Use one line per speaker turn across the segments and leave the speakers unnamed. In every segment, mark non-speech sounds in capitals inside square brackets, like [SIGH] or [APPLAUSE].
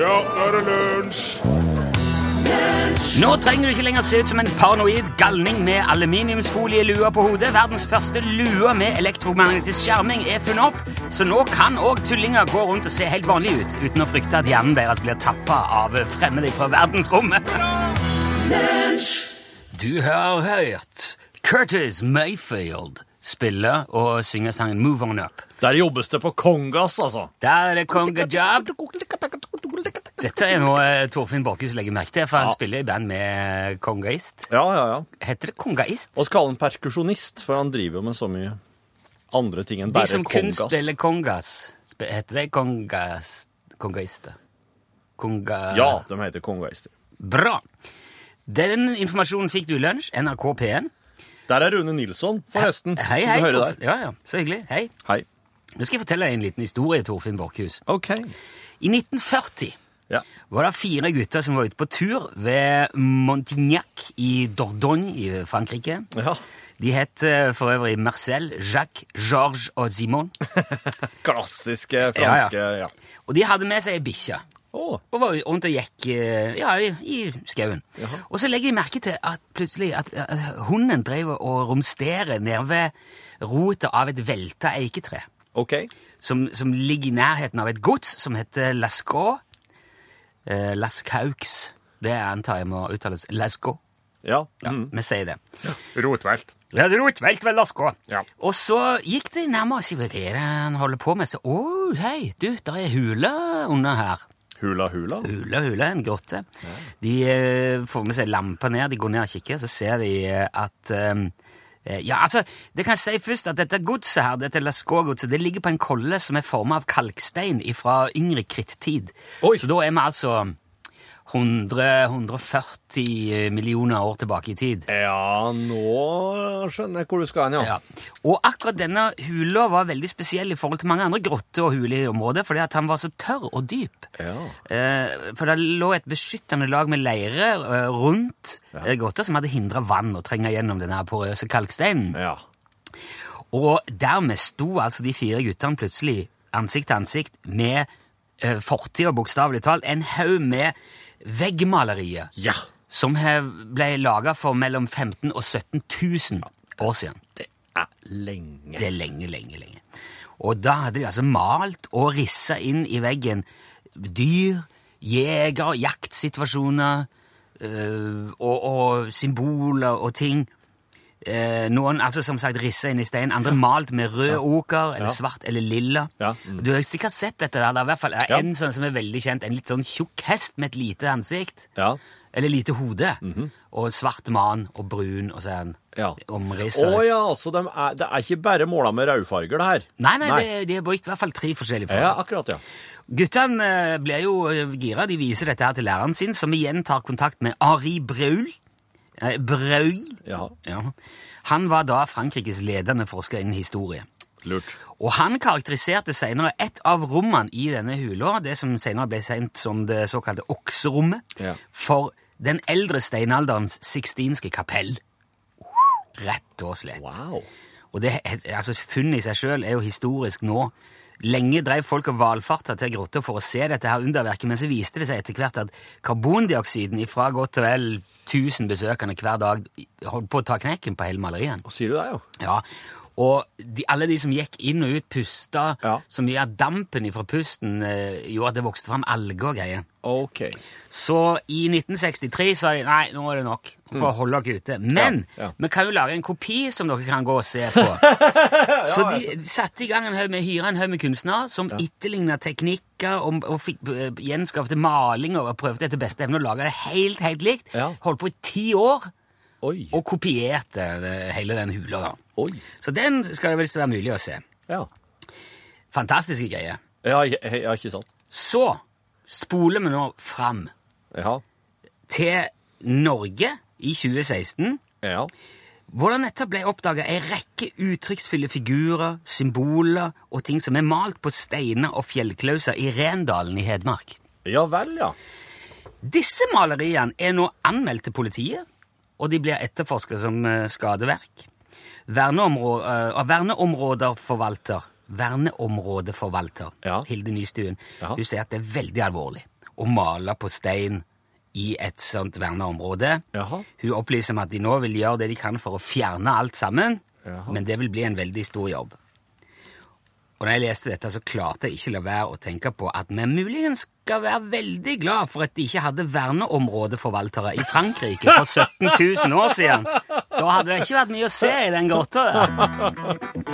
Ja, nå er det lunsj!
Nå trenger du ikke lenger se ut som en paranoid galning med aluminiumsfolielua på hodet. Verdens første lue med elektromagnetisk skjerming er funnet opp, så nå kan òg tullinger gå rundt og se helt vanlige ut, uten å frykte at hjernen deres blir tappa av fremmede fra verdensrommet. Du har hørt Curtis Mayfield spille og synge sangen Move On Up.
Der jobbes det på kongass, altså.
Der er det Conga Job. Dette er noe eh, Torfinn Borkhus legger merke til, for han
Ja.
spiller i band med kongaist.
Ja, ja, ja.
Heter det kongaist?
Og så kaller han perkusjonist, for han driver jo med så mye andre ting enn
De
bare
som kun
kongass.
spiller kongas, sp- heter det kongas, kongaister? Konga...
Ja, de heter kongaister.
Bra! Den informasjonen fikk du i lunsj, NRK P1.
Der er Rune Nilsson, forresten.
Hei,
som
hei,
du hører
Torf- Ja, ja, så hyggelig. Hei.
der. Hei.
Nå skal jeg fortelle deg en liten historie, Torfinn Borkhus.
Ok.
I 1940
Ja.
var det fire gutter som var ute på tur ved Montignac i Dordogne i Frankrike.
ja. [LAUGHS]
De het eh, for øvrig Marcel, Jacques, Georges og Simon.
Klassiske
Ja, ja.
franske eh, Ja. Å,
Og de hadde med seg ei bikkje. og var rundt og gikk eh, ja, i, i skauen. Og så legger jeg merke til at plutselig at, at hunden driver og romsterer nede ved rota av et velta eiketre,
ok.
som, som ligger i nærheten av et gods som heter Lascaux. Eh, Lascaux. Det antar jeg må uttales Lascaux.
Ja.
Ja,
Mm.
Vi sier det.
Rotvelt.
Ja, det er rotvelt ved Lascaux.
Ja.
Og så gikk de nærmere og sa hva er det han holder på med? Så å, hei, du, der er hule under her.
Hula hula.
Hule, hule, en grotte. De eh, får med seg lamper ned, de går ned og kikker, så ser de eh, at eh, eh, Ja, altså, det kan jeg si først at dette godset her, dette Lascaux-godset, det ligger på en kolle som er forma av kalkstein fra yngre krittid.
Oi.
Så da er vi altså 100-140 millioner år tilbake i tid.
Ja, nå skjønner jeg hvor du skal hen, ja.
Ja. Og akkurat denne hula var veldig spesiell i forhold til mange andre grotter og huler i området, fordi at han var så tørr og dyp.
Ja.
Eh, for det lå et beskyttende lag med leire eh, rundt eh, grotta som hadde hindra vann å trenge gjennom den her porøse kalksteinen.
ja.
Og dermed sto altså de fire guttene plutselig ansikt til ansikt med eh, fortida, bokstavelig talt, en haug med veggmalerier
Ja.
som hev- ble laga for mellom 15 000 og 17 000 år siden.
Det er lenge.
Det er lenge, lenge, lenge. Og da hadde de altså malt og rissa inn i veggen dyr, jeger, jaktsituasjoner øh, og, og symboler og ting. Eh, noen altså som sagt rissa inn i stein, andre malt med rød oker eller svart eller lilla.
Ja, mm.
Du har sikkert sett dette. der, det er i hvert fall
Ja.
En sånn som er veldig kjent, en litt sånn tjukk hest med et lite ansikt.
Ja.
Eller lite hode. Og svart man og brun, og så er han
Mhm. Ja.
omrisset.
Å ja, altså, de er, det er ikke bare måla med rødfarger, det her.
Nei, nei, De, de har brukt i hvert fall tre forskjellige farger.
Ja, akkurat, ja.
Guttene eh, blir jo eh, gira. De viser dette her til læreren sin, som igjen tar kontakt med Henri Braul. Eh, Braul.
Ja,
Ja. Han var da Frankrikes ledende forsker innen historie.
lurt.
Og han karakteriserte senere et av rommene i denne hula, det som senere ble sendt som det såkalte okserommet,
Ja.
for den eldre steinalderens sixtinske kapell. Rett og slett.
Wow.
Og det, altså, funnet i seg sjøl er jo historisk nå. Lenge drev folk og valfarta til grotta for å se dette her underverket, men så viste det seg etter hvert at karbondioksiden ifra godt og vel 1000 besøkende hver dag holdt på å ta knekken på hele malerien.
Og sier du det, jo?
Ja, og de, alle de som gikk inn og ut, pusta
Ja.
så mye at dampen ifra pusten eh, gjorde at det vokste fram alger og greier.
Ok.
Så i 1963 sa de nei, nå er det nok for å holde dere ute. Men
Mm. Ja, ja.
vi kan jo lage en kopi som dere kan gå og se
[LAUGHS]
på. [LAUGHS] Så de satte i gang en haug med hyra en haug med kunstnere som etterligna teknikker og, og fikk eh, gjenskapte malinger og prøvde etter beste evne å lage det helt, helt likt.
Ja.
Holdt på i ti år
Oi.
og kopierte eh, hele den hula. da.
Oi.
Så den skal det visst være mulig å se.
Ja.
Fantastiske greier.
Ja, ikke- he- ja, ikke sant?
Så spoler vi nå fram
Ja.
til Norge i 2016,
Ja.
hvor det nettopp ble oppdaga ei rekke uttrykksfulle figurer, symboler og ting som er malt på steiner og fjellklauser i Rendalen i Hedmark.
Ja vel, ja.
Disse maleriene er nå anmeldt til politiet, og de blir etterforska som eh, skadeverk. Verneområ eh, av verneområderforvalter Verneområdeforvalter
Ja.
Hilde Nystuen
Ja.
Hun sier at det er veldig alvorlig. å male på stein i et sånt verna område.
Jaha.
Hun opplyser om at de nå vil gjøre det de kan for å fjerne alt sammen,
Jaha.
men det vil bli en veldig stor jobb. Og når jeg leste dette, så klarte jeg ikke la være å tenke på at vi muligens skal være veldig glad for at de ikke hadde verneområdeforvaltere i Frankrike for 17 000 år siden. Da hadde det ikke vært mye å se i den grotta der.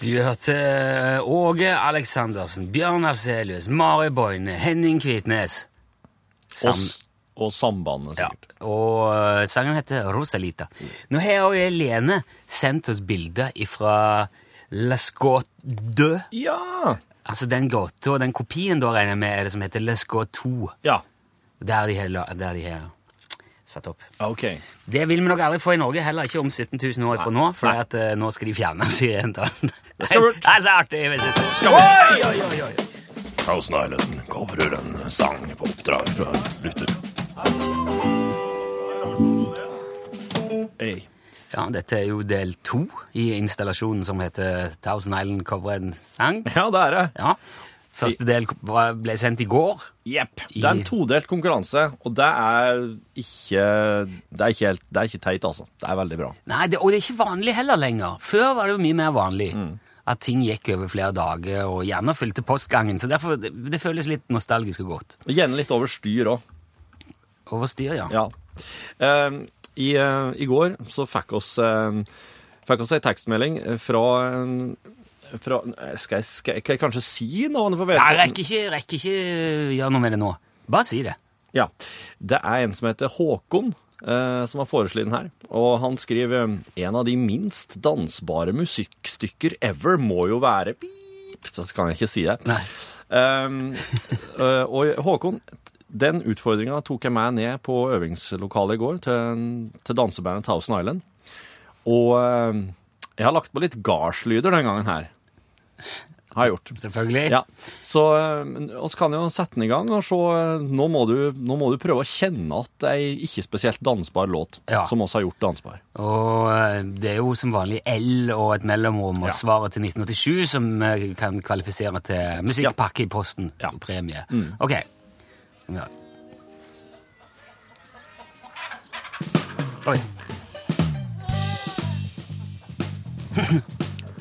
Du hørte eh, Åge Aleksandersen, Bjørn Arselius, Mari Boine, Henning Kvitnes.
Og,
Sam-
s- og sambandet,
ja,
sikkert.
og eh, sangen heter Rosalita. Nå har også Lene sendt oss bilder fra Lascaux Deux.
Ja!
Altså den gråta, den kopien da regner jeg med, er det som heter Lascaux 2.
Ja,
Der de har la- der de har satt opp.
ok.
Det vil vi nok aldri få i Norge, heller ikke om 17 000 år fra nå, for
Nei.
at, eh, nå skal de [LAUGHS] fjernes igjen. da. Det
skal bort.
er så artig! vet du. Oi, oi, oi, oi.
Thousand Island coverer en sang på oppdrag fra lytter.
Hey.
Ja, dette er jo del to i installasjonen som heter Thousand Island cover en sang.
Ja, det er det.
Ja. Første del var- ble sendt i går.
Jepp. Det er en
I-
todelt konkurranse, og det er ikke Det er ikke, helt, det er ikke teit, altså. Det er veldig bra.
Nei, det, og det er ikke vanlig heller lenger. Før var det jo mye mer vanlig
Mm.
at ting gikk over flere dager, og gjerne fylte postgangen. Så derfor, det, det føles litt nostalgisk og godt.
Og Gjerne litt over styr òg.
Over styr, ja.
Ja. Eh, i, eh, I går så fikk oss uh, Fikk oss ei tekstmelding fra en- fra, skal, jeg, skal, jeg, kan jeg kanskje si navnet på
Jeg
vedkommende?
rekker ikke, rekker ikke gjøre noe med det nå. Bare si det.
Ja. Det er en som heter Håkon, eh, som har foreslått den her. Og han skriver eh, En av de minst dansbare musikkstykker ever må jo være Pip! Så kan jeg ikke si det.
Nei.
Um, eh, og Håkon, den utfordringa tok jeg meg ned på øvingslokalet i går til, til dansebandet Thousand Island. Og eh, jeg har lagt på litt gardslyder den gangen her. Har jeg gjort.
Selvfølgelig.
[LAUGHS] Ja, så eh, oss kan jo sette den i gang og se eh, Nå må du, nå må du prøve å kjenne at ei ikke spesielt dansbar låt
Ja.
som oss har gjort dansbar.
Og eh, det er jo som vanlig L og et mellomrom og
Ja.
svaret til 1987 som eh, kan kvalifisere til musikkpakke i posten.
Ja. Mm.
Premie. Ok. Skal vi gjøre Oi.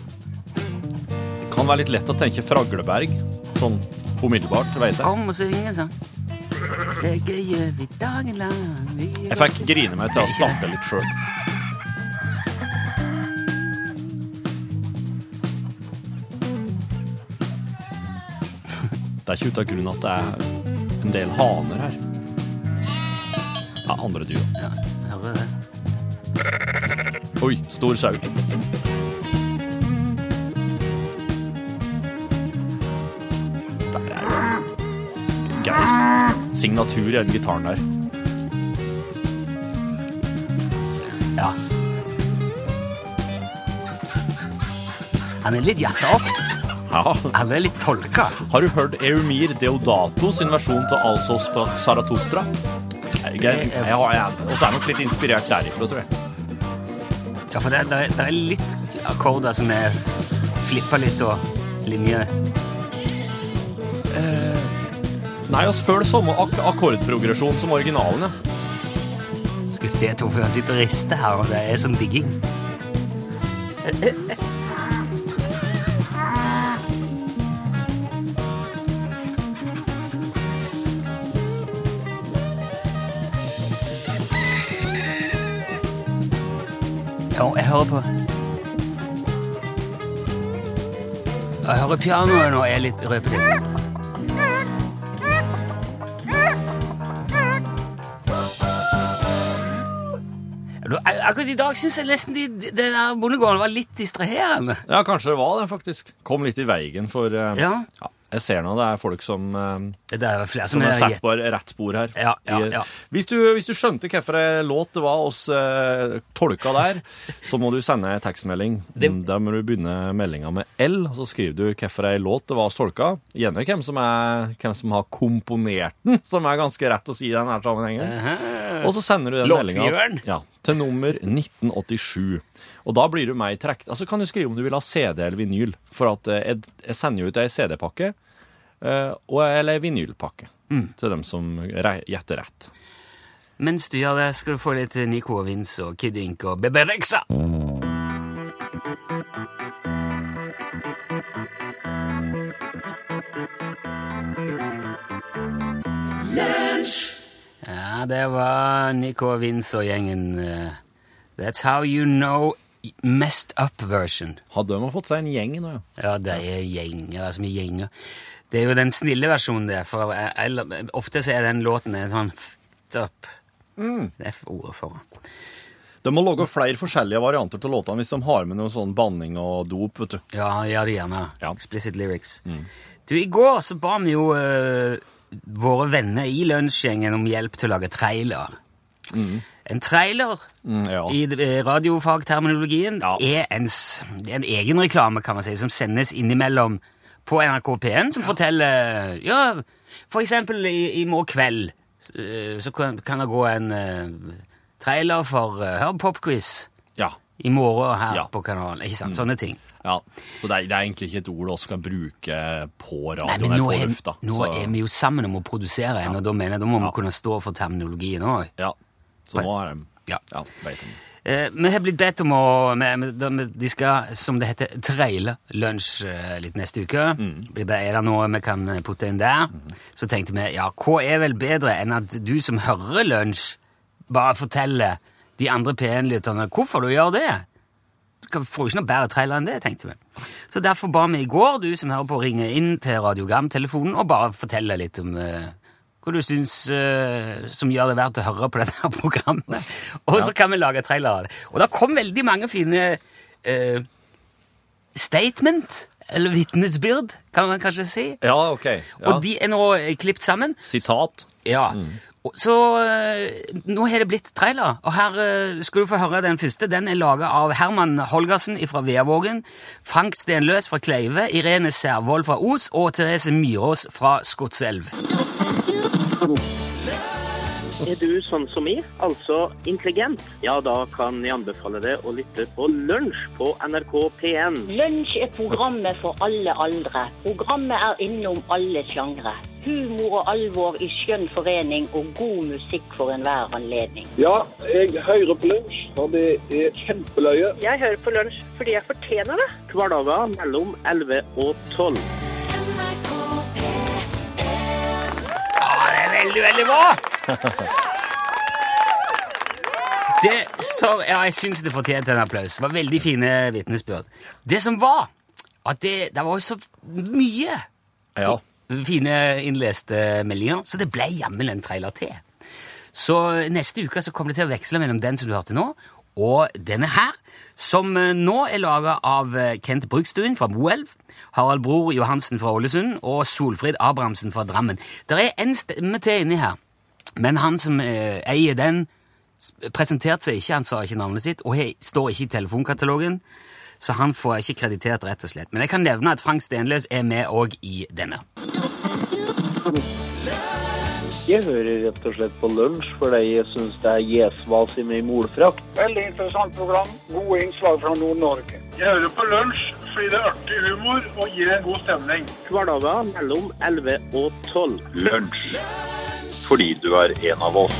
Det kan være litt lett å tenke Fragleberg sånn umiddelbart, vet jeg.
Kom og syng en sang. Det gjør vi dagen lang. Vi
Jeg fikk grine meg til å snakke litt sjøl. Det er ikke uten grunn at det er en del haner her. Ja, andre dyr.
Ja, hører det.
Oi, stor sau. Der er jo Geis signatur i den gitaren der.
Ja. Han er litt jazza opp.
Ja.
Han er litt tolka.
Har du hørt Eumir Deodato sin versjon til Altså Sp- Zarathustra? Jeg, jeg, jeg, har- jeg, også er nok litt inspirert derifra, tror jeg.
Ja, for det, det, er- det er litt akkorder som er flippa litt og linjer.
Nei, oss følger samme ak akkordprogresjon som originalen, ja.
Skal se Torfinn han sitter og rister her, og det er sånn digging. Jo, jeg hører på. Jeg hører pianoet nå, jeg er litt røpete. Du, ak- Akkurat i dag syns jeg nesten de, de- den der bondegården var litt distraherende.
Ja, kanskje det var det, faktisk. Kom litt i veien for eh,
Ja.
Jeg ser nå det er folk som eh,
Det er flere som,
Som er
altså, er
satt på rett spor her.
Ja, ja, ja.
Hvis, du, hvis du skjønte hvilken låt det var oss eh, tolka
[LAUGHS]
der, så må du sende en tekstmelding.
Det-
Da må du begynne meldinga med L, og så skriver du hvilken låt det var oss tolka. Gjerne hvem som, er, hvem som har
Eh,
komponert den, som er ganske rett å si i denne sammenhengen. Og så sender du den meldinga
Låtskriveren.
ja, til til nummer 1987. Og da blir du meg trekt. Altså kan du skrive om du vil ha CD eller vinyl, for at eh, jeg, jeg sender jo ut ei CD-pakke eh, og- eller ei vinylpakke til dem som re- gjetter rett.
Mens du gjør det, skal du få litt Nico og Vince og Kid Ink og Bebe Rexha. Ja, det var Nico og Vince og gjengen. eh, That's how you know messed up version.
Hadde de fått seg en gjeng nå, ja.
Ja, det er gjenger, det er så mye gjenger. Det er jo den snille versjonen det, for eh, eller, ofte så er den låten en sånn f***ed up. Det er ordet for det.
De må lage flere forskjellige varianter til låtene hvis de har med noe sånn banning og dop, vet du.
Ja, gjør det gjerne.
Ja.
Explicit lyrics. Du, I går så ba vi jo eh, våre venner i lunsjgjengen om hjelp til å lage trailer. En trailer
Mm, ja.
i eh, radiofagterminologien er en, s- det er en egen reklame, kan man si, som sendes innimellom på NRK P1, som forteller Ja, for eksempel i, i morgen kveld s- eh, så kan, kan det gå en eh, trailer for eh, Hør popquiz
Ja.
i morgen her
Ja. Mm.
på kanalen. Ikke sant? Sånne ting.
ja. Så det er, det er egentlig ikke et ord vi skal bruke på
Nei,
radioen
men
eller
nå,
på
er,
lufta.
nå
så-
er vi jo sammen om å produsere en, og da mener jeg da må vi kunne stå for terminologien òg.
Ja. Så nå er de
Ja.
Ja, vet de.
Eh, vi har blitt bedt om å vi- vi- De de skal, som det heter, traile lunsj eh, litt neste uke. Blir det- Er det noe vi kan eh, putte inn der? Så tenkte vi ja, hva er vel bedre enn at du som hører lunsj, bare forteller de andre P1-lytterne hvorfor du gjør det? Du kan- får jo ikke noe bedre trailer enn det, tenkte vi. Så derfor ba vi i går du som hører på, ringe inn til Radiogram-telefonen og bare fortelle litt om eh, hva du syns eh, som gjør det verdt å høre på dette [LAUGHS] her programmet. Og så kan vi lage trailer av det. Og det kom veldig mange fine eh, statement, eller vitnesbyrd, kan man kanskje si.
Ja, ok. Ja.
Og de er nå eh, klippet sammen.
Sitat.
Ja. Og Så eh, nå har det blitt trailer, og her eh, skal du få høre den første. Den er laga av Herman Holgersen fra Veavågen, Frank Stenløs fra Kleive, Irene Servold fra Os og Therese Myrås fra Skotselv.
Er du sånn som meg, altså intelligent? Ja, da kan jeg anbefale deg å lytte på Lunsj på NRK P1.
Lunsj er programmet for alle aldre. Programmet er innom alle sjangre. Humor og alvor i skjønn forening og god musikk for enhver anledning.
Ja, jeg hører på lunsj, og det er kjempeløye.
Jeg hører på lunsj fordi jeg fortjener det.
Hverdager mellom 11 og 12.
Ja, det er veldig, veldig bra! Det som, ja, jeg syns det fortjente en applaus. Det var veldig fine vitnesbyrd. Det som var, at det, det var jo så mye
Ja.
fine innleste meldinger, så det ble jammen en trailer til. Så neste uke så kommer det til å veksle mellom den som du hørte nå, og denne her, som eh, nå er laga av eh, Kent Brugstuen fra Moelv, Harald Bror Johansen fra Ålesund og Solfrid Abrahamsen fra Drammen. Der er en stemme til inni her, men han som eh, eier den, s- presenterte seg ikke, han sa ikke navnet sitt, og he, står ikke i telefonkatalogen, så han får ikke kreditert, rett og slett. Men jeg kan nevne at Frank Stenløs er med òg i denne.
Jeg hører rett og slett på lunsj fordi jeg syns det er gjesvas i min molfrakt.
Veldig interessant program. Gode innslag fra Nord-Norge. Jeg hører på lunsj fordi det er artig humor og gir en god stemning.
Hverdager mellom 11 og 12.
Lunsj. Fordi du er en av oss.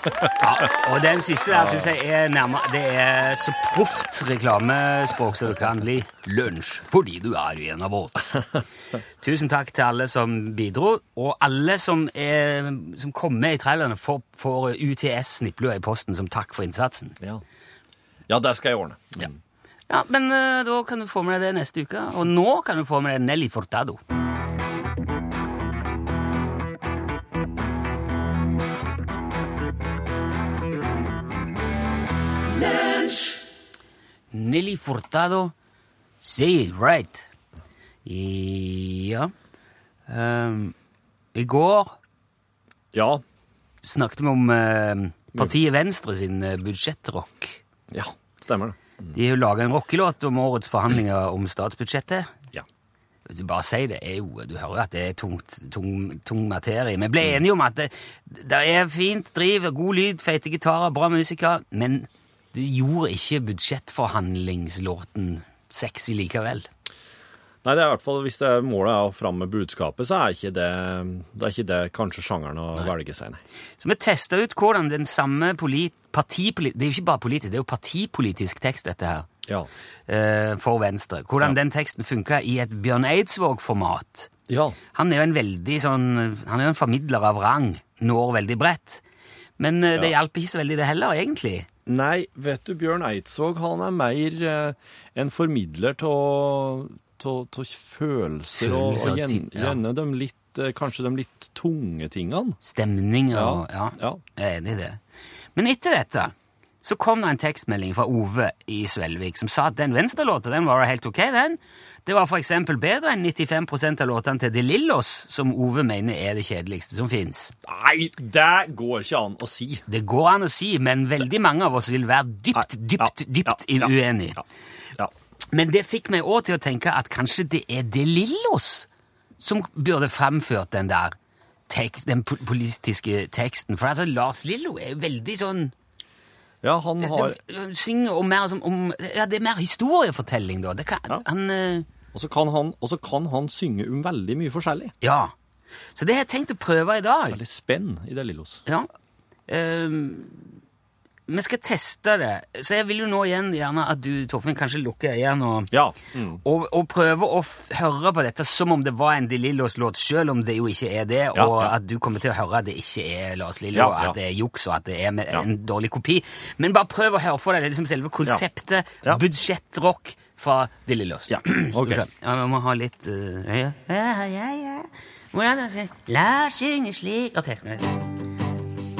Ja, og den siste der synes jeg er nærmere Det er så proft reklamespråk som det kan bli. Lunsj, fordi du er en av oss. Tusen takk til alle som bidro, og alle som, er, som kom med i trailerne, får, får UTS-snipplua i posten som takk for innsatsen.
ja. Ja, det skal jeg ordne.
Ja. Ja, Men eh, da kan du få med deg det neste uke. Og nå kan du få med deg Nelly Fortado. Nelly Furtado, say it right. Ja Ehm, I går
Ja.
snakket vi om eh, partiet Venstre sin eh, budsjettrock.
Ja, stemmer det.
De har jo laga en rockelåt om årets forhandlinger om statsbudsjettet.
Ja.
Hvis du Bare si det. er jo, Du hører jo at det er tungt, tung, tung materie. Vi ble enige om at det, det er fint driv, god lyd, feite gitarer, bra musikere, men det gjorde ikke budsjettforhandlingslåten sexy likevel.
Nei, det er i hvert fall, hvis det er målet er å fram med budskapet, så er ikke det, det, er ikke det kanskje sjangeren å velge seg, nei.
Så vi testa ut hvordan den samme polit, partipoli- Det er jo ikke bare politisk, det er jo partipolitisk tekst, dette her,
Ja.
eh, for Venstre. Hvordan den teksten funka i et Bjørn Eidsvåg-format.
Ja.
Han er jo en veldig sånn Han er jo en formidler av rang. Når veldig bredt. Men eh, det hjalp ikke så veldig, det heller, egentlig.
Nei, vet du, Bjørn Eidsvåg, han er mer eh, en formidler av følelser, og,
Følelser,
og gjen,
ting, ja.
gjerne de litt, eh, kanskje de litt tunge tingene.
Stemning og Ja,
ja.
jeg er enig i det. Men etter dette så kom det en tekstmelding fra Ove i Svelvik som sa at den venstrelåta den var da helt ok, den. Det var for eksempel bedre enn 95 av låtene til De Lillos, som Ove mener er det kjedeligste som fins.
Nei, det går ikke an å si.
Det går an å si, men veldig mange av oss vil være dypt,
Nei,
dypt,
ja,
dypt
ja, ja,
uenig.
Ja. ja.
Men det fikk meg òg til å tenke at kanskje det er De Lillos som burde fremført den der tekst, den po- politiske teksten. For altså, Lars Lillo er veldig sånn
ja, han har
det- Synger om mer som om Ja, det er mer historiefortelling, da. Det kan,
Ja.
Han eh,
Og så kan, han- og så kan han synge om veldig mye forskjellig.
Ja. Så det har jeg tenkt å prøve i dag.
Veldig spenn i det lillos.
Ja. Ehm, vi skal teste det. Så jeg vil jo nå igjen gjerne at du, Torfinn, kanskje lukker øynene og
Ja. Mm.
Og, og prøve å f høre på dette som om det var en De Lillos-låt, selv om det jo ikke er det,
Ja,
og
ja.
at du kommer til å høre at det ikke er Lars Lillo,
Ja, ja.
at det er juks, og at det er med, en dårlig kopi. Men bare prøv å høre for deg liksom selve konseptet
Ja.
budsjettrock fra De Lillos.
Ja,
[CLEARS THROAT] Skal
ok.
vi se. Ja, vi må ha litt eh, ja, ja, ja, ja. Hvordan er det? Lars synger slik Ok. skal vi se.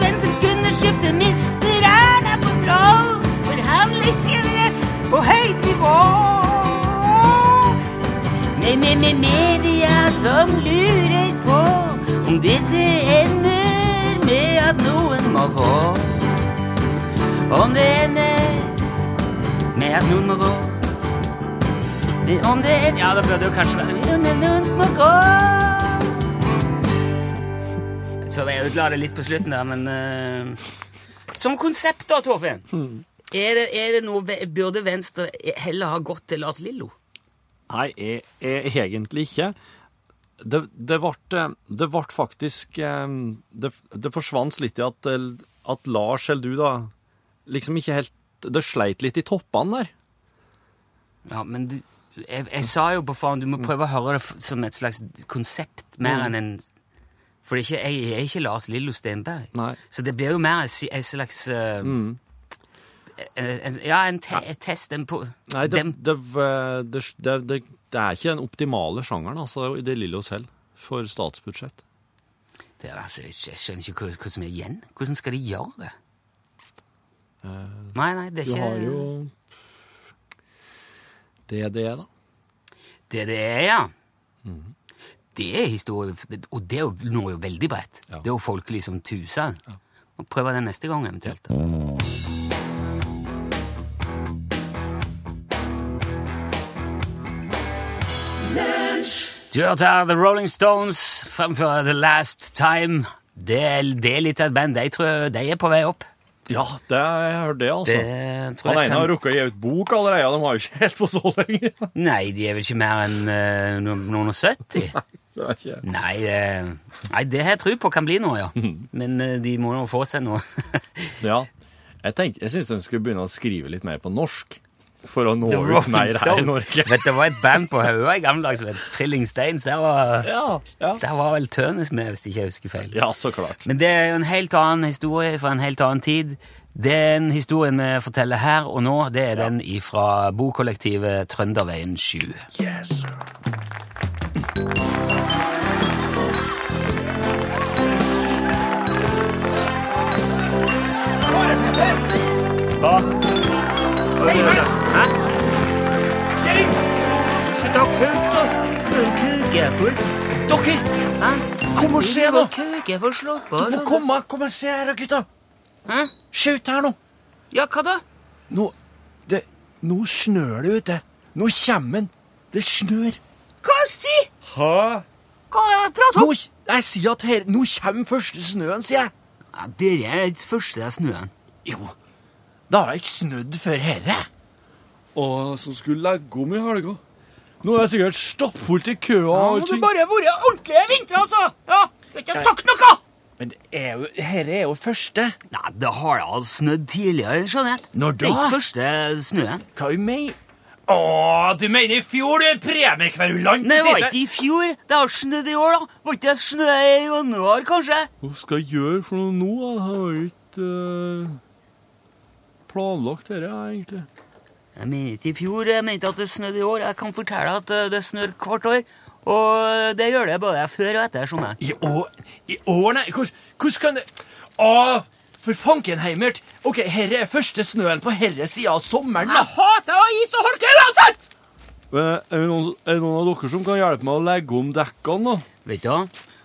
Venstre skifte mister Erna kontroll. Forhandlingene på høyt nivå. Med, med, med media som lurer på om dette ender med at noen må gå. Om det ender med at noen må gå. Men Om det ender Ja, da burde det jo kanskje være Men om noen må gå. Så jeg ødela det litt på slutten der, men eh, Som konsept, da, Torfinn. Er, det, er det noe ve- Burde Venstre heller ha gått til Lars Lillo?
Nei, e e egentlig ikke. Det, det, ble, det ble faktisk eh, Det, det forsvant litt i at, at Lars eller du, da, liksom ikke helt Det sleit litt i toppene der.
Ja, men du, jeg, jeg sa jo på forhånd du
Mm.
må prøve å høre det f- som et slags konsept mer enn en For det er ikke, jeg er ikke Lars Lillo Stenberg.
Nei. Mm.
Så det blir jo mer en si- en slags eh, en, en, Ja, en te et test. En på,
Nei, det,
dem-
det, det, det, det, det er ikke den optimale sjangeren, altså, i det lille oss selv, for statsbudsjett.
det, er altså, jeg, jeg skjønner ikke hva, hva som er igjen. Hvordan skal de gjøre det? nei, nei, det
Eh, Du
er ikke
har jo DDE, da.
Det det er, ja. Mm. Det er historie, det- og det er jo, når jo veldig bredt.
Ja.
Det er jo folkelig som tusen. Og prøve den neste gang eventuelt. da. Du hørte her The Rolling Stones fremfører The Last Time. Det er, det er litt av et band. De tror jeg- de er på vei opp.
Ja, det jeg hørte det, altså.
Det tror
Han
jeg
ene har
kan...
rukket å gi ut bok allerede, og de har jo ikke helt på så lenge. [LAUGHS]
Nei, de er vel ikke mer enn eh, noen noen og [LAUGHS] sytti?
Det er ikke...
Nei, det- nei, det har jeg tro på kan bli noe, ja.
Mhm.
Men eh, de må nå få seg noe.
Ja. Jeg, tenk- jeg syns de skulle begynne å skrive litt mer på norsk. for å nå
The
ut
Rolling
mer her i
Stones.
Norge.
Vet, du, det var et band på Haua i gamle dager som het Trilling Steins. Der var,
[LAUGHS] Ja, ja.
der var vel Tønes med, hvis ikke jeg husker feil.
ja, så klart.
Men det er jo en helt annen historie fra en helt annen tid. Den historien vi forteller her og nå, det er den fra bokollektivet Trønderveien 7.
Dere, kom og se nå!
Køge for
Må
slåbbar.
komme, kom og se her, da, gutta!
Hæ?
Skyt her nå!
Ja, hva da?
Nå, det, nå snør det ute. Nå kommer den. Det snør.
Hva si?
Hæ?
Hva prater
Nå, jeg sier at her, nå kommer første snøen, sier jeg.
Ja, det er det første snøen.
Jo, det har ikke snødd før herre. Og så skulle legge om i helga. Nå er det sikkert stappfullt i køa og allting.
bare vært ordentlige vintre, altså! Ja, Skal ikke ha sagt noe!
Men det er jo, herre er jo første.
Nei, det har da snødd tidligere, Jeanette.
Når
Det
da?
er ikke første snøen.
Hva du mener? Å, du mener i fjor, du premiekverulant!
Nei, det var ikke i fjor. Det har snødd i år, da. Var ikke det snø i januar, kanskje?
Hva skal jeg gjøre for noe nå? Jeg har jo ikke eh, planlagt dette, egentlig.
Jeg mener ikke i fjor, jeg mente at det snødde i år. Jeg kan fortelle at eh, det snør hvert år. Og eh, det gjør det både før og etter sommeren.
I år? I år, nei? Hvordan, hvordan kan det Å, for fanken, Heimert! Ok, herre er første snøen på herre sida av sommeren, da.
hater å is og holke uansett!
Eh, Er det noen, av dere som kan hjelpe meg å legge om dekkene, da?
Vet du, hva?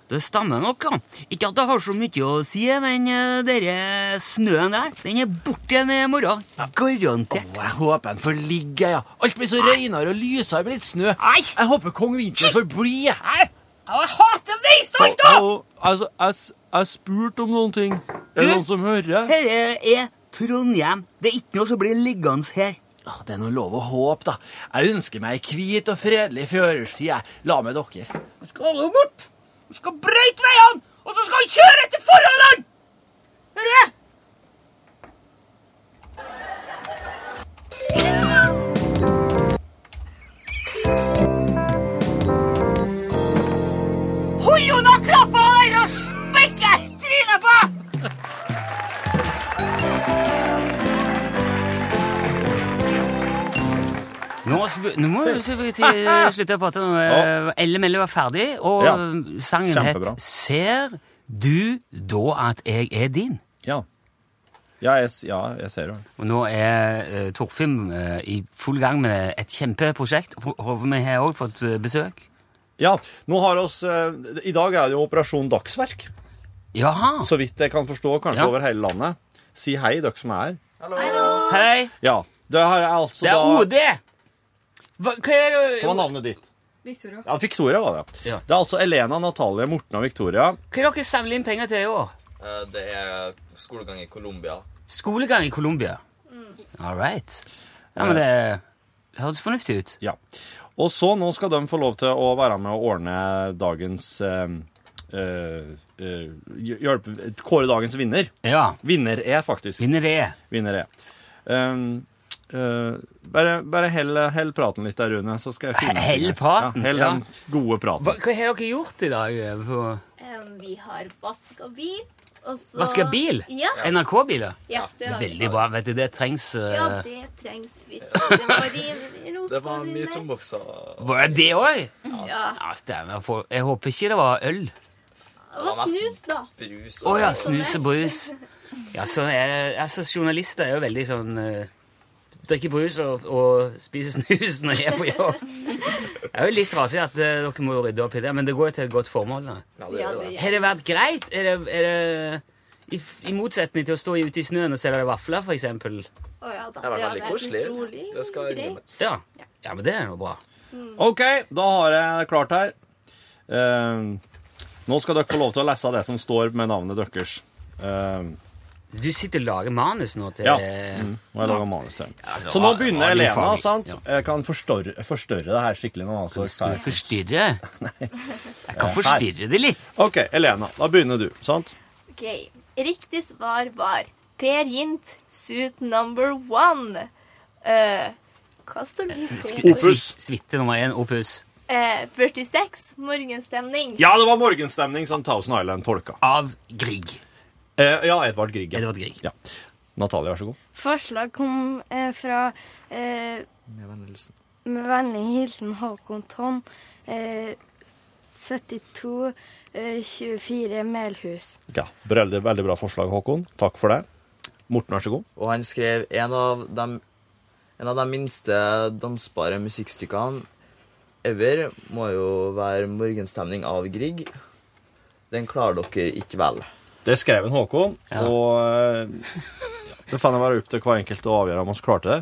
det stemmer nok, ja. Ikke at det har så mye å si, men eh, dere snøen der, den er borte igjen i morgen. Garantert.
jeg håper den får ligge, ja. Alt blir så reinere og lysere med litt snø.
Nei.
Jeg håper kong Vinter får bli, jeg.
Jeg hater veisalt,
altså, jeg, s- jeg spurte om noen ting. Er
Du?
det noen som hører?
Dette eh, er Trondheim. Det er ikke noe som blir liggende her.
Å, Det er noe lov å håpe, da. Jeg ønsker meg ei hvit og fredelig førerstid. jeg. La med dere.
Vi skal holde bort. Vi skal brøyte veiene, og så skal vi kjøre etter forholdene! Hører du? Hold unna knappa der og smekke trynet på! Nå, sp- nå må vi sp- til-
[LAUGHS]
slutte å prate. Nå. Eh, Elle Melle var ferdig, og
Ja.
sangen
Kjempebra.
het Ser du da at jeg er din?
Ja. Ja, jeg, ser jo.
Og nå er eh, Torfinn eh, i full gang med et kjempeprosjekt. Hå- Håper vi har også fått eh, besøk.
Ja, nå har oss, eh, I dag er det jo Operasjon Dagsverk.
Jaha.
Så vidt jeg kan forstå, kanskje
Ja.
over hele landet. Si hei, dere som er her.
Hei.
Ja, det har jeg altså
Det er
da...
OD! Hva, hva er det
Hva var navnet ditt?
Victoria.
Ja, Victoria var det.
Ja.
Det er altså Elena, Natalie, Morten og Victoria.
Hva er dere samler inn penger til i år?
Eh, Det er skolegang i Colombia.
Skolegang i Colombia.
Mm.
All right. Ja, men det
Eh.
høres fornuftig ut.
Ja. Og så nå skal de få lov til å være med å ordne dagens eh, eh, eh, hjelpe, Kåre dagens vinner.
Ja.
Vinner er faktisk.
Vinner det.
Vinner er. Um, eh, bare bare hell, hell praten litt der, Rune, så skal jeg finne
Hell
ting her.
praten,
Ja, hell
ja.
den gode praten.
Hva, hva har dere gjort i dag? eh, På
Vi har vaska bil, og så
Vaska bil?
Ja.
NRK-biler?
ja det har vi.
Veldig bra. vet du, Det trengs eh,
Ja, det trengs virkelig. Det var i- i rumpa dine.
Var det det òg?
Ja.
Ja, stemmer. For- Jeg håper ikke det var øl.
Det var snus, da.
Å ja, snus og brus. Ja, sånn er det. Altså, Journalister er jo veldig sånn eh, Drikker brus og, og spiser snus når de er på jobb. Det er jo litt trasig at eh, dere må rydde opp i det, men det går jo til et godt formål. da.
Ja, det
Har det vært greit? Er det, er det i, f- I motsetning til å stå ute i snøen og selge vafler, for eksempel.
Å ja, da. Det har vært utrolig greit.
Ja. ja, men det er jo bra.
OK, da har jeg det klart her. Ehm, nå skal dere få lov til å lese det som står med navnet deres. Ehm,
Du sitter og lager manus nå til eh,
ja. Mm, nå har jeg laget manus til den.
Altså,
Så nå begynner
radiofaglig.
Elena, sant?
Ja.
Jeg kan forstørre, forstørre det her skikkelig nå. Altså.
Skal du forstyrre?
[LAUGHS]
Jeg
Eh,
kan forstyrre det litt.
OK, Elena, da begynner du, sant?
Ok. Riktig svar var Per Gynt, suit number one. Eh, Hva står du på?
Opus. Suite nummer én, opus.
Eh, 46. Morgenstemning.
Ja, det var morgenstemning som Thousand Island tolka.
Av Grieg.
Eh, ja, Edvard Grieg. ja.
Edvard Grieg.
Ja. Natalia, vær så god.
Forslag kom eh, fra eh, Med vennlig hilsen Håkon Tonn, eh, 72 eh, 24 Melhus.
Ja, veldig, veldig bra forslag, Håkon. Takk for det. Morten, vær så god.
Og han skrev en av de, en av de minste dansbare musikkstykkene ever må jo være 'Morgenstemning' av Grieg. Den klarer dere ikke vel.
Det skrev en Håkon, og eh, det får være opp til hver enkelt å avgjøre om vi klarte det.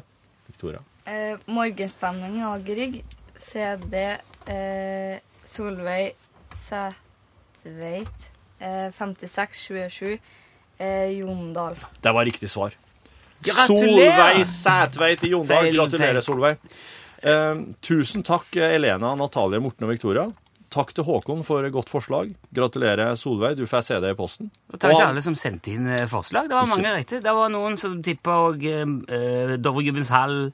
Victoria.
Eh, morgenstemning av Grieg. CD eh, Solveig Sætveit. Eh, 5627. Eh, Jondal.
Det var riktig svar.
Gratulerer!
Solveig Sætveit i Jondal.
Feil,
Gratulerer,
feil.
Solveig. Eh, tusen takk, Elena, Natalie, Morten og Victoria. Takk til Håkon for godt forslag. Gratulerer, Solveig. Du får CD i posten.
Og takk
Og
til
han-
alle som sendte inn eh, forslag. Det var mange rette. Det var noen som tippa og eh, Dovregubbens hall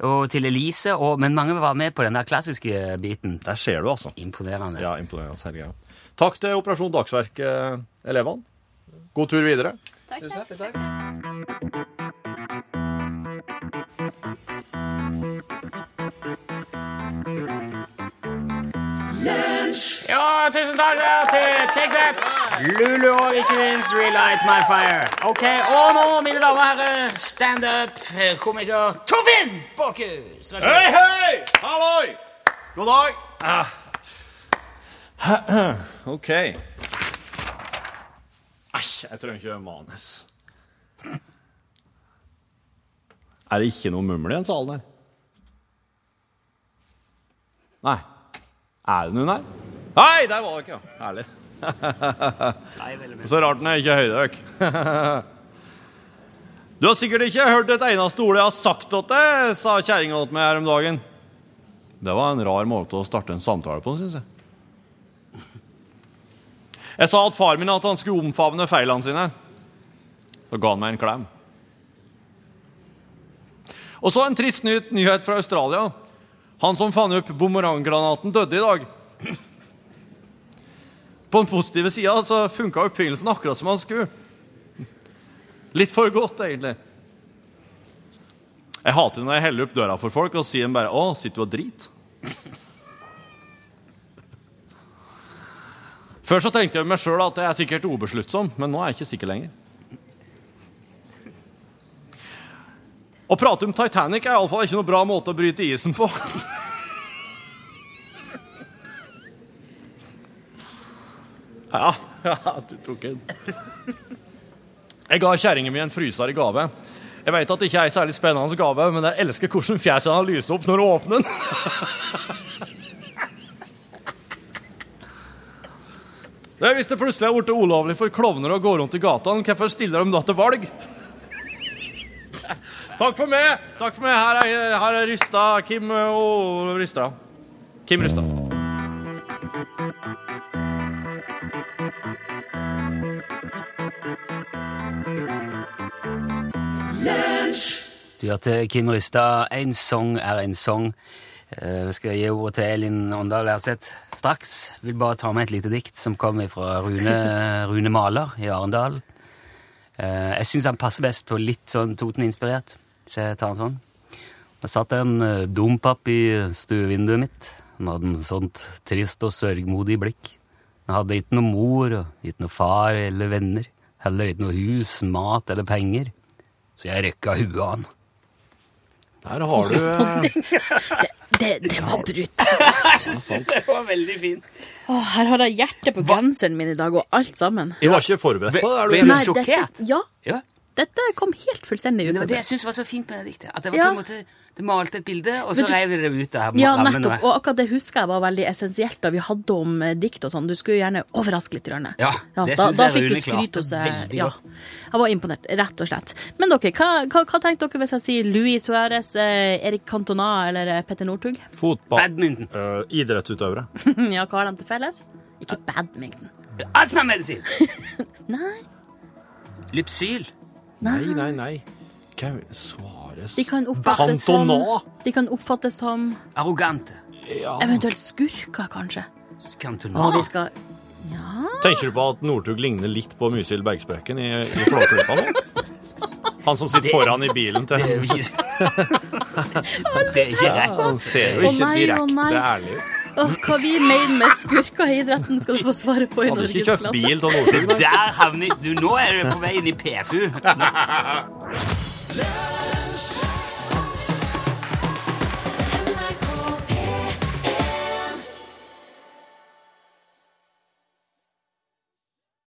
og til Elise, og, men mange var med på den der klassiske biten.
Der ser du, altså.
Imponerende.
Ja, imponerende. Helge. Takk til Operasjon Dagsverk-elevene. God tur videre.
Tusen hjertelig takk.
Ja, tusen takk der til Take That, Lulu og ikke minst Relight My Fire. Ok, Og nå, mine damer og herrer, standup-komiker Torfinn Bakkhus. Vær så god.
Hei, hei! Halloi! God dag. Ah. [CLEARS THROAT] OK. Æsj, jeg trenger ikke manus. Er det ikke noe mumler i den salen her? Nei. Er det noen her? Nei, der var det ikke, ja. Herlig. [LAUGHS] Så rart den er ikke høydøk. Du har sikkert ikke hørt et eneste ord jeg har sagt til deg, sa kjerringa til meg her om dagen. Det var en rar måte å starte en samtale på, syns jeg. Jeg sa at far min at han skulle omfavne feilene sine. Så ga han meg en klem. Og så en trist ny nyhet fra Australia. Han som fant opp bumeranggranaten, døde i dag. På den positive sida så funka oppfinnelsen akkurat som han skulle. Litt for godt, egentlig. Jeg hater når jeg heller opp døra for folk og sier dem bare 'Å, sitter du og drit?' Før så tenkte jeg med meg sjøl at jeg er sikkert ubesluttsom, men nå er jeg ikke sikker lenger. Å prate om Titanic er iallfall ikke noe bra måte å bryte isen på. [LAUGHS] Ja, ja du tok en. Jeg ga kjerringa mi en fryser i gave. Jeg vet at det ikke er en særlig spennende gave, men jeg elsker hvordan fjeset han lyser opp når hun åpner [LAUGHS] den. Det er Hvis det plutselig er blitt ulovlig for klovner å gå rundt i gatene, hvorfor stiller de da til valg? Takk for meg! Takk for meg. Her er, her er Rysta. Kim og Rysta. Kim Rysta.
Du hørte Kim Rystad. En song er en song. Eh, Vi skal gi ordet til Elin Åndal Erseth straks. Vil bare ta med et lite dikt som kommer fra Rune, Rune Maler i Arendal. Eh, Jeg syns han passer best på litt sånn Toten-inspirert, så jeg tar en sånn. Det satt en eh, dompap i stuevinduet mitt. Han hadde en sånt trist og sørgmodig blikk. Han hadde ikke noe mor og ikke noe far eller venner. Heller ikke noe hus, mat eller penger. Så jeg røkka huet av han.
Der har du eh,
Det, det var brutt.
[LAUGHS] Det var veldig fint.
Å, her har jeg hjertet på genseren min i dag, og alt sammen.
[LAUGHS] Jeg var ikke forberedt på det. Er du
Nei,
enig?
Dette, ja,
Ja.
dette kom helt fullstendig
Det var det jeg
uforberedt.
syntes var så fint med det diktet. At det var
Ja.
på en måte Det malte et bilde, og så
Men du-
reiv det det ut av
Ja,
rammen.
nettopp. Og akkurat det husker jeg var veldig essensielt da vi hadde om eh, dikt og sånn. Du skulle jo gjerne overraske litt. Rønne.
Ja, det
da,
synes
da
jeg
fikk du
Rune
skryt
klarte
hos eh,
veldig
ja.
godt.
Jeg var imponert, rett og slett. Men dere, hva, hva, hva tenkte dere hvis jeg sier Louis Suárez, eh, Erik Cantona eller eh, Petter Northug? [LAUGHS]
Fotball. Badminton. idrettsutøvere.
ja, hva har de til felles? Ikke badminton.
Astmamedisin!
Nei.
Lypsyl.
Nei, nei, nei. Hva er- Svar forklares.
De kan oppfattes som,
Cantona.
de kan oppfattes som
Arrogante.
eventuelt skurker, kanskje.
Ah.
Cantona.
Og vi skal
Tenker du på at Northug ligner litt på Musil Bergspøken i, i Flåklypa nå? Han som sitter foran i bilen til
Det er jo
[LAUGHS]
Det
er ikke rett.
Han ser jo
Å
ikke
nei, å nei.
direkte ærlig ut.
Åh, Hva vi mener med skurker i idretten, skal du få svare på i
Hadde ikke kjøpt bil
norgesklasse.
til Northug.
Der havner du. Nå er du på vei inn i PFU.